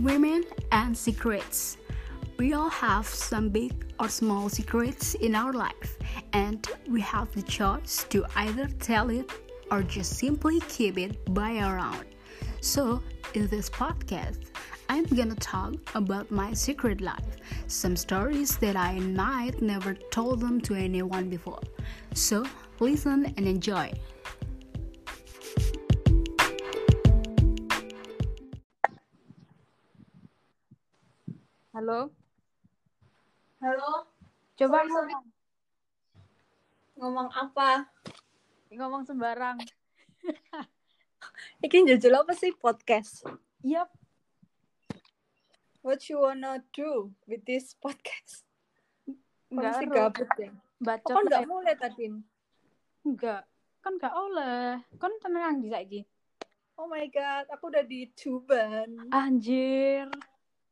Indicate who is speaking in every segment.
Speaker 1: Women and secrets. We all have some big or small secrets in our life, and we have the choice to either tell it or just simply keep it by around. So, in this podcast, I'm gonna talk about my secret life, some stories that I might never told them to anyone before. So, listen and enjoy.
Speaker 2: Halo,
Speaker 3: Halo,
Speaker 2: coba
Speaker 3: Sorry, sorry.
Speaker 2: ngomong,
Speaker 3: ngomong apa?
Speaker 2: ngomong sembarang.
Speaker 3: Ini judul apa sih podcast?
Speaker 2: Yap,
Speaker 3: What you wanna do with this podcast?
Speaker 2: Nggak
Speaker 3: Masih
Speaker 2: ero.
Speaker 3: gabut ya?
Speaker 2: bacot
Speaker 3: Kok nggak
Speaker 2: ae.
Speaker 3: mulai tadi?
Speaker 2: Nggak. Kan nggak oleh. Kan tenang di saiki.
Speaker 3: Oh my god, aku udah di Tuban.
Speaker 2: Anjir.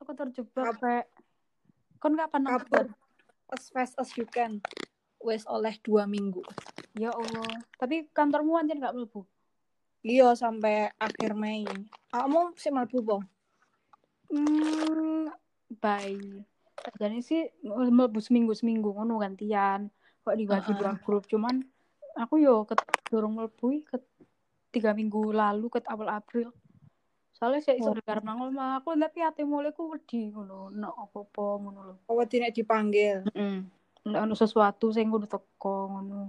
Speaker 2: Aku terjebak,
Speaker 3: Kab-
Speaker 2: Rek. Kan kapan aku
Speaker 3: Kabur as fast as you can. Wes oleh dua minggu.
Speaker 2: Ya Allah. Tapi kantormu anjir nggak mlebu.
Speaker 3: Iya sampai akhir Mei. Kamu sih malbu po?
Speaker 2: Hmm, bye. Jadi sih mlebu seminggu-seminggu ngono gantian. Kok dibagi
Speaker 3: Uh-uh.
Speaker 2: dua grup cuman aku yo ket durung mlebu ket tiga minggu lalu ket awal April. Soalnya saya iso
Speaker 3: Oh.
Speaker 2: garap nang omah aku tapi ati mulai ku wedi ngono, nek apa-apa ngono lho.
Speaker 3: Kau tidak dipanggil.
Speaker 2: Heeh. Nek ono sesuatu sing kudu teko ngono.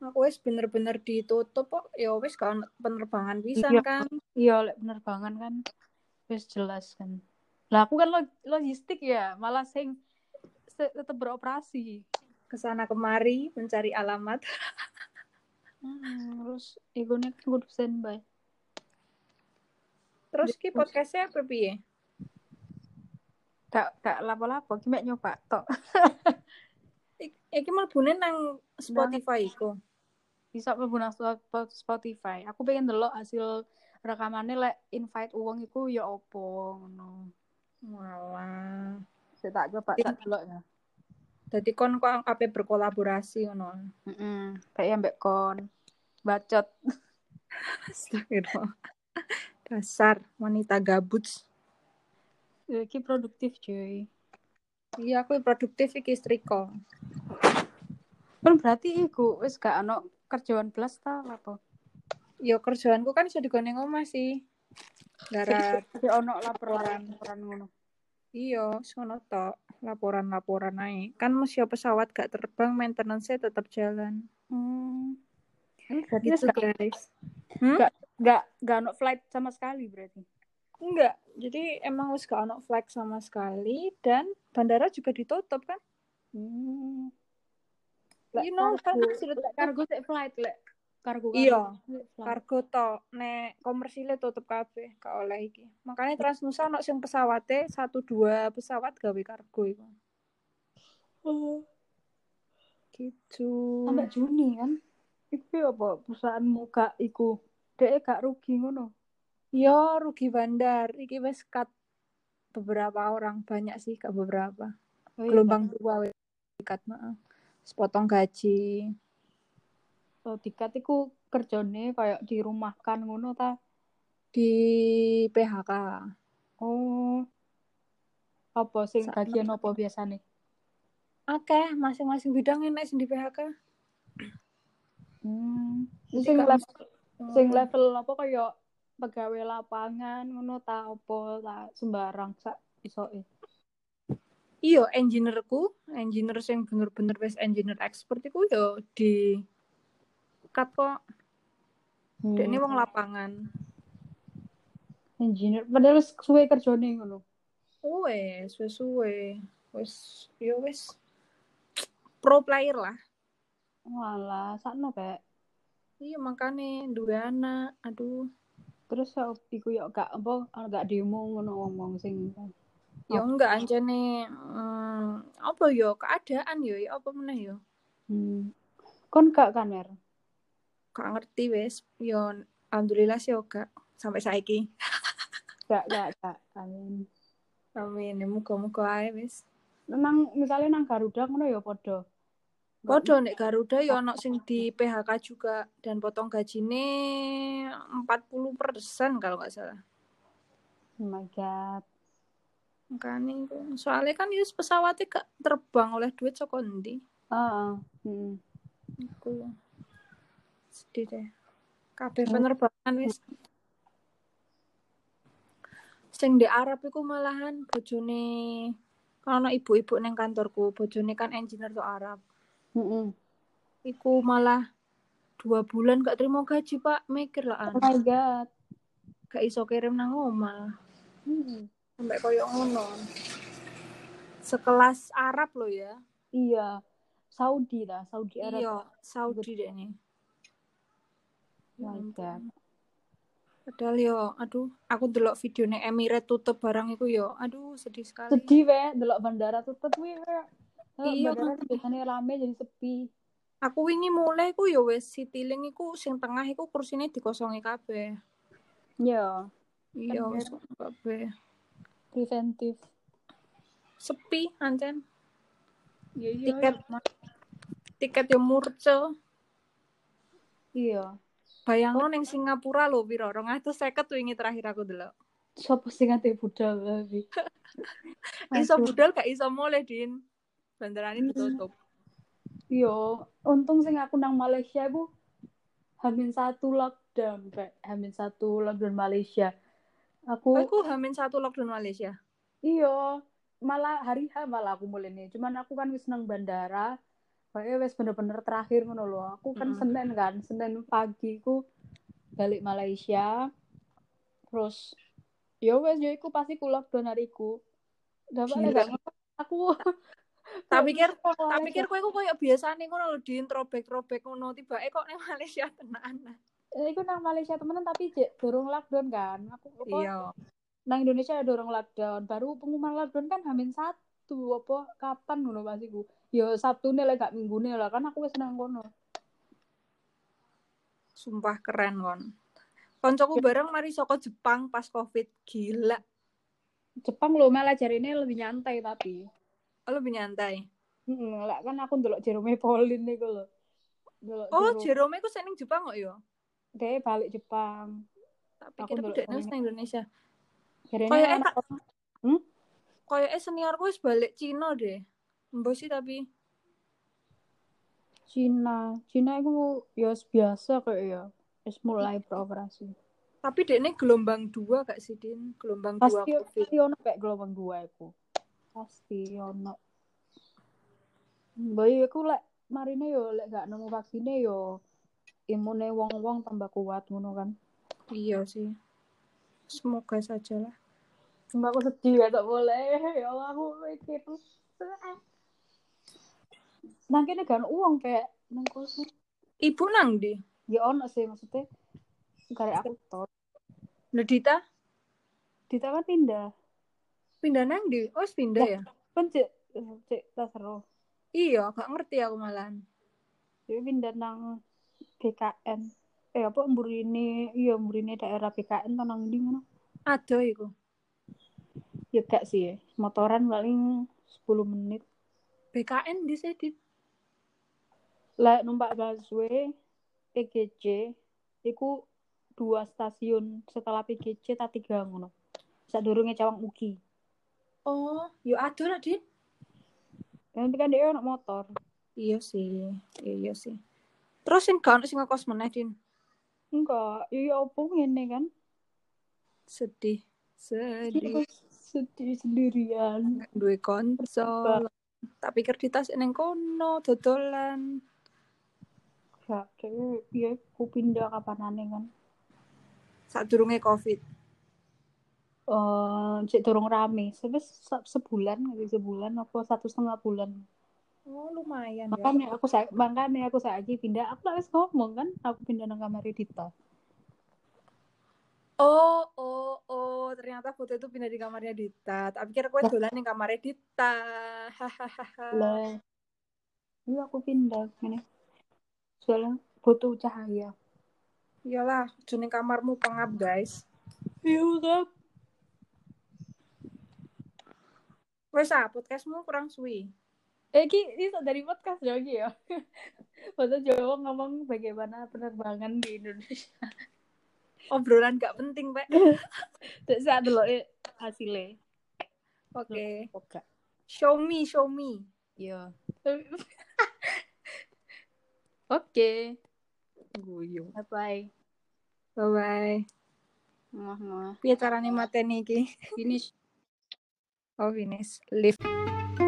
Speaker 3: Aku wes bener-bener ditutup kok. Ya wes kan penerbangan pisan
Speaker 2: Iya.
Speaker 3: kan.
Speaker 2: Iya, lek penerbangan kan wis jelas kan. Lah aku kan log- logistik ya, malah sing se- tetep beroperasi.
Speaker 3: Kesana kemari mencari alamat.
Speaker 2: Hmm, terus egonya kan gue standby.
Speaker 3: Terus ki podcastnya apa piye?
Speaker 2: Kak, kak lapo-lapo, gimana nyoba tok.
Speaker 3: Ik- Iki malbune nang Spotify iku.
Speaker 2: Bisa menggunakan Spotify. Aku pengen delok hasil rekamannya lek invite uang iku ya opo ngono.
Speaker 3: Malah.
Speaker 2: Saya tak coba
Speaker 3: Iya.
Speaker 2: tak delok ya.
Speaker 3: Jadi kon kok apa berkolaborasi ngono.
Speaker 2: Heeh. Kayak mbak kon bacot.
Speaker 3: Astagfirullah. Dasar wanita gabut.
Speaker 2: Ya, Iki produktif cuy.
Speaker 3: Iya, aku produktif iki striko.
Speaker 2: Kan berarti iku wis gak ono kerjaan belas ta lapo.
Speaker 3: Yo kerjaanku kan iso digone omah sih. Gara
Speaker 2: Tapi ono laporan-laporan ngono.
Speaker 3: iya, sono tok laporan-laporan naik. Kan mesti pesawat gak terbang, maintenance-nya tetap jalan.
Speaker 2: Hmm. Ini berarti wis
Speaker 3: Gitu,
Speaker 2: gak,
Speaker 3: guys.
Speaker 2: gak, gak ono flight sama sekali berarti.
Speaker 3: Enggak. Jadi emang wis gak ono flag sama sekali dan bandara juga ditutup kan.
Speaker 2: Hmm.
Speaker 3: You know, kan sudah
Speaker 2: lek kargo sik flight lek kargo
Speaker 3: Iya.
Speaker 2: sik flight.
Speaker 3: kargo tok nek komersilnya tutup kabeh gak oleh iki makanya Transnusa ono sing pesawate satu dua pesawat gawe kargo iku gitu
Speaker 2: sampai Juni kan iku ya apa perusahaanmu gak iku dhek gak rugi ngono
Speaker 3: yo Iya, rugi bandar iki wis cut beberapa orang banyak sih gak beberapa
Speaker 2: Oh iya,
Speaker 3: gelombang dua wis cut heeh sepotong gaji
Speaker 2: so tiket iku kerjane kayak dirumahkan ngono ta
Speaker 3: di PHK
Speaker 2: oh apa sing
Speaker 3: Sa-
Speaker 2: bagian apa biasane
Speaker 3: oke masing-masing bidang enak sing di PHK
Speaker 2: hmm kan.
Speaker 3: Jadi
Speaker 2: sing
Speaker 3: gak
Speaker 2: level sing
Speaker 3: Oh.
Speaker 2: level apa kayak pegawai lapangan ngono ta apa ta sembarang sak isoke
Speaker 3: Iya, engineerku, engineer sing bener-bener wis engineer expert iku yo di cut kok.
Speaker 2: Hmm.
Speaker 3: Dekne wong lapangan.
Speaker 2: engineer padahal wis suwe kerjane ngono
Speaker 3: Wes, wis suwe. Wis yo wis pro player lah.
Speaker 2: Walah, sakno kayak
Speaker 3: Iya, makane duwe anak. Aduh,
Speaker 2: terus ya iku ya gak apa gak demo ngono ngomong sing
Speaker 3: ya enggak anjene hmm, apa yo keadaan yo ya apa meneh yo.
Speaker 2: hmm. kon gak kan mer
Speaker 3: Gak ngerti wis. Yo alhamdulillah sih yo gak sampai saiki.
Speaker 2: gak gak gak kan. amin
Speaker 3: Amin, ya muga-muga ae wis.
Speaker 2: nang misalnya nang Garuda ngono ya podo
Speaker 3: Podo nek Garuda ya ono sing di PHK juga dan potong gajine 40% kalau nggak salah.
Speaker 2: oh my god
Speaker 3: makane iku soalnya kan yus pesawatnya gak terbang oleh duit saka endi
Speaker 2: Heeh. Heeh.
Speaker 3: iku sedih deh kabeh penerbangan wis sing di Arab iku malahan bojone kan ana ibu-ibu neng kantorku bojone kan engineer tuh Arab
Speaker 2: Heeh.
Speaker 3: iku malah dua bulan gak terima gaji pak mikir lah
Speaker 2: Oh
Speaker 3: an
Speaker 2: my god.
Speaker 3: gak iso kirim nang omah
Speaker 2: Mm.
Speaker 3: sampai koyo ngono sekelas Arab lo ya
Speaker 2: Iya. Saudi lah, Saudi Arab.
Speaker 3: iya Saudi deh ini Ya
Speaker 2: Oh my god.
Speaker 3: padahal yo aduh aku delok videonya Emirates tutup barang iku yo aduh sedih sekali
Speaker 2: Sedih we, delok bandara tutup we. we. Delok
Speaker 3: Iya.
Speaker 2: bandara biasanya rame jadi sepi.
Speaker 3: aku wingi mulai iku yo wes Citylink iku sing tengah iku kursine dikosongi kabeh
Speaker 2: Iya.
Speaker 3: iya wes kabeh
Speaker 2: Preventif.
Speaker 3: sepi anten
Speaker 2: Iya, iya.
Speaker 3: tiket tiket yo murce
Speaker 2: Iya.
Speaker 3: Bayangno ning Singapura lho piro 250 wingi terakhir aku delok.
Speaker 2: Sopo sing ate budal lagi.
Speaker 3: Iso budal gak iso mulai Din. Bandarane
Speaker 2: Hmm.
Speaker 3: ditutup.
Speaker 2: Yo, untung sing aku nang Malaysia bu, hamin satu lockdown, Pak. Hamin satu lockdown Malaysia. Aku,
Speaker 3: Aku hamin satu lockdown Malaysia.
Speaker 2: iyo, Iya, malah hari H malah aku mulai nih. Cuman aku kan wis nang bandara, kayak wis bener-bener terakhir ngono lho. Aku kan
Speaker 3: Mm-mm.
Speaker 2: Senin kan, Senin pagi ku balik Malaysia. Terus, yo wes yo iku pasti ku lockdown hariku. Dapat
Speaker 3: Gila.
Speaker 2: gak ngono, aku.
Speaker 3: Tak pikir tak
Speaker 2: Malaysia.
Speaker 3: pikir kowe iku koyo biasane ngono lho Din trobek-trobek ngono tibake kok ning Malaysia tenan.
Speaker 2: Eh, iku nang Malaysia temenan tapi jek dorong lockdown kan. Aku aku
Speaker 3: Iya.
Speaker 2: nang Indonesia ada orang lockdown baru pengumuman lockdown kan hamin satu apa kapan ngono pasti ku ya Sabtu nih lah gak minggu nih lah kan aku wis nang kono
Speaker 3: Sumpah keren kon.
Speaker 2: Ya.
Speaker 3: Koncoku bareng mari saka Jepang pas Covid. Gila,
Speaker 2: Jepang lo malah jarine lebih nyantai tapi
Speaker 3: lebih nyantai.
Speaker 2: Heeh, lah kan aku ndelok Jerome Pauline niku lho ndelok
Speaker 3: Oh,
Speaker 2: Jerome
Speaker 3: Jerome iku sing ning Jepang kok yo.
Speaker 2: Dia balik Jepang
Speaker 3: Tak
Speaker 2: Aku
Speaker 3: pikir aku
Speaker 2: ndelok
Speaker 3: dekne
Speaker 2: soalnya.
Speaker 3: wis nang Indonesia.
Speaker 2: jarine
Speaker 3: Kayaknya
Speaker 2: anak-
Speaker 3: Koyoke seniorku wis balik Cina deh. Mbok sih tapi
Speaker 2: Cina Cina iku ya biasa kayak ya wis mulai beroperasi
Speaker 3: Tapi dek ini gelombang dua gak sih, Din? Gelombang dua
Speaker 2: pasti
Speaker 3: COVID.
Speaker 2: pasti ono kayak gelombang dua iku pasti ono Boy, aku lek marine yo lek gak nemu vaksinnya yo imune wong-wong tambah kuat ngono kan.
Speaker 3: Iya sih. Semoga saja lah.
Speaker 2: Cuma aku sedih gak tak boleh. Ya Allah aku mikir. Nang kene gak ono uang kayak nang kosan.
Speaker 3: Ibu nang di?
Speaker 2: Ya ono sih maksudnya karek aku tor.
Speaker 3: Nedita?
Speaker 2: Dita kan pindah.
Speaker 3: Pindah nang di? Oh, wis pindah ya?
Speaker 2: Kan cek cek tasro.
Speaker 3: Iya, gak ngerti aku malahan.
Speaker 2: Dia pindah nang BKN. Eh apa mburine? Iya mburine daerah BKN to nang ndi ngono.
Speaker 3: Ada iku.
Speaker 2: Ya gak sih. Motoran paling 10 menit.
Speaker 3: BKN di sini, Din.
Speaker 2: lek numpak busway PGC iku dua stasiun setelah PGC tak tiga ngono sak durunge cawang uki
Speaker 3: Oh, yo ada lah, Din.
Speaker 2: nanti kan dia ono motor
Speaker 3: Iya sih. Iya sih. Terus sing gak ono sing ngekos meneh, Din.
Speaker 2: enggak iya opo ngene kan
Speaker 3: Sedih.
Speaker 2: Aku
Speaker 3: Sedih.
Speaker 2: sedih sendirian
Speaker 3: Duwe konsol. Tak pikir di tas neng kono, dodolan.
Speaker 2: gak kayak iya aku pindah kapanane kan
Speaker 3: Saat durungnya COVID.
Speaker 2: eh cek dorong rame sebes se- sebulan nggak sebulan apa satu setengah bulan
Speaker 3: Oh, lumayan ya.
Speaker 2: makanya aku sa- makanya aku saiki pindah aku lah wis ngomong kan aku pindah nang kamar Dita
Speaker 3: Oh, oh, oh, ternyata foto itu pindah di kamarnya Dita. Tak pikir aku
Speaker 2: Lah.
Speaker 3: dolan di kamarnya Dita. Hahaha.
Speaker 2: lah iya aku pindah ini soalnya butuh cahaya
Speaker 3: Iyalah, jenis kamarmu pengap, guys.
Speaker 2: iya kan
Speaker 3: Wes ah, podcastmu kurang suwi.
Speaker 2: eh ki ini tak dari podcast dong Ki, ya Masa Jawa ngomong bagaimana penerbangan di Indonesia
Speaker 3: Obrolan gak penting, Pak.
Speaker 2: Terus saya dulu eh, hasilnya
Speaker 3: Oke.
Speaker 2: Oke.
Speaker 3: Show me, show me.
Speaker 2: Iya.
Speaker 3: Oke. Guyu.
Speaker 2: Bye bye.
Speaker 3: Bye bye.
Speaker 2: Ngomong-ngomong.
Speaker 3: Piye carane mateni iki?
Speaker 2: Finish.
Speaker 3: Oh, finish. Lift.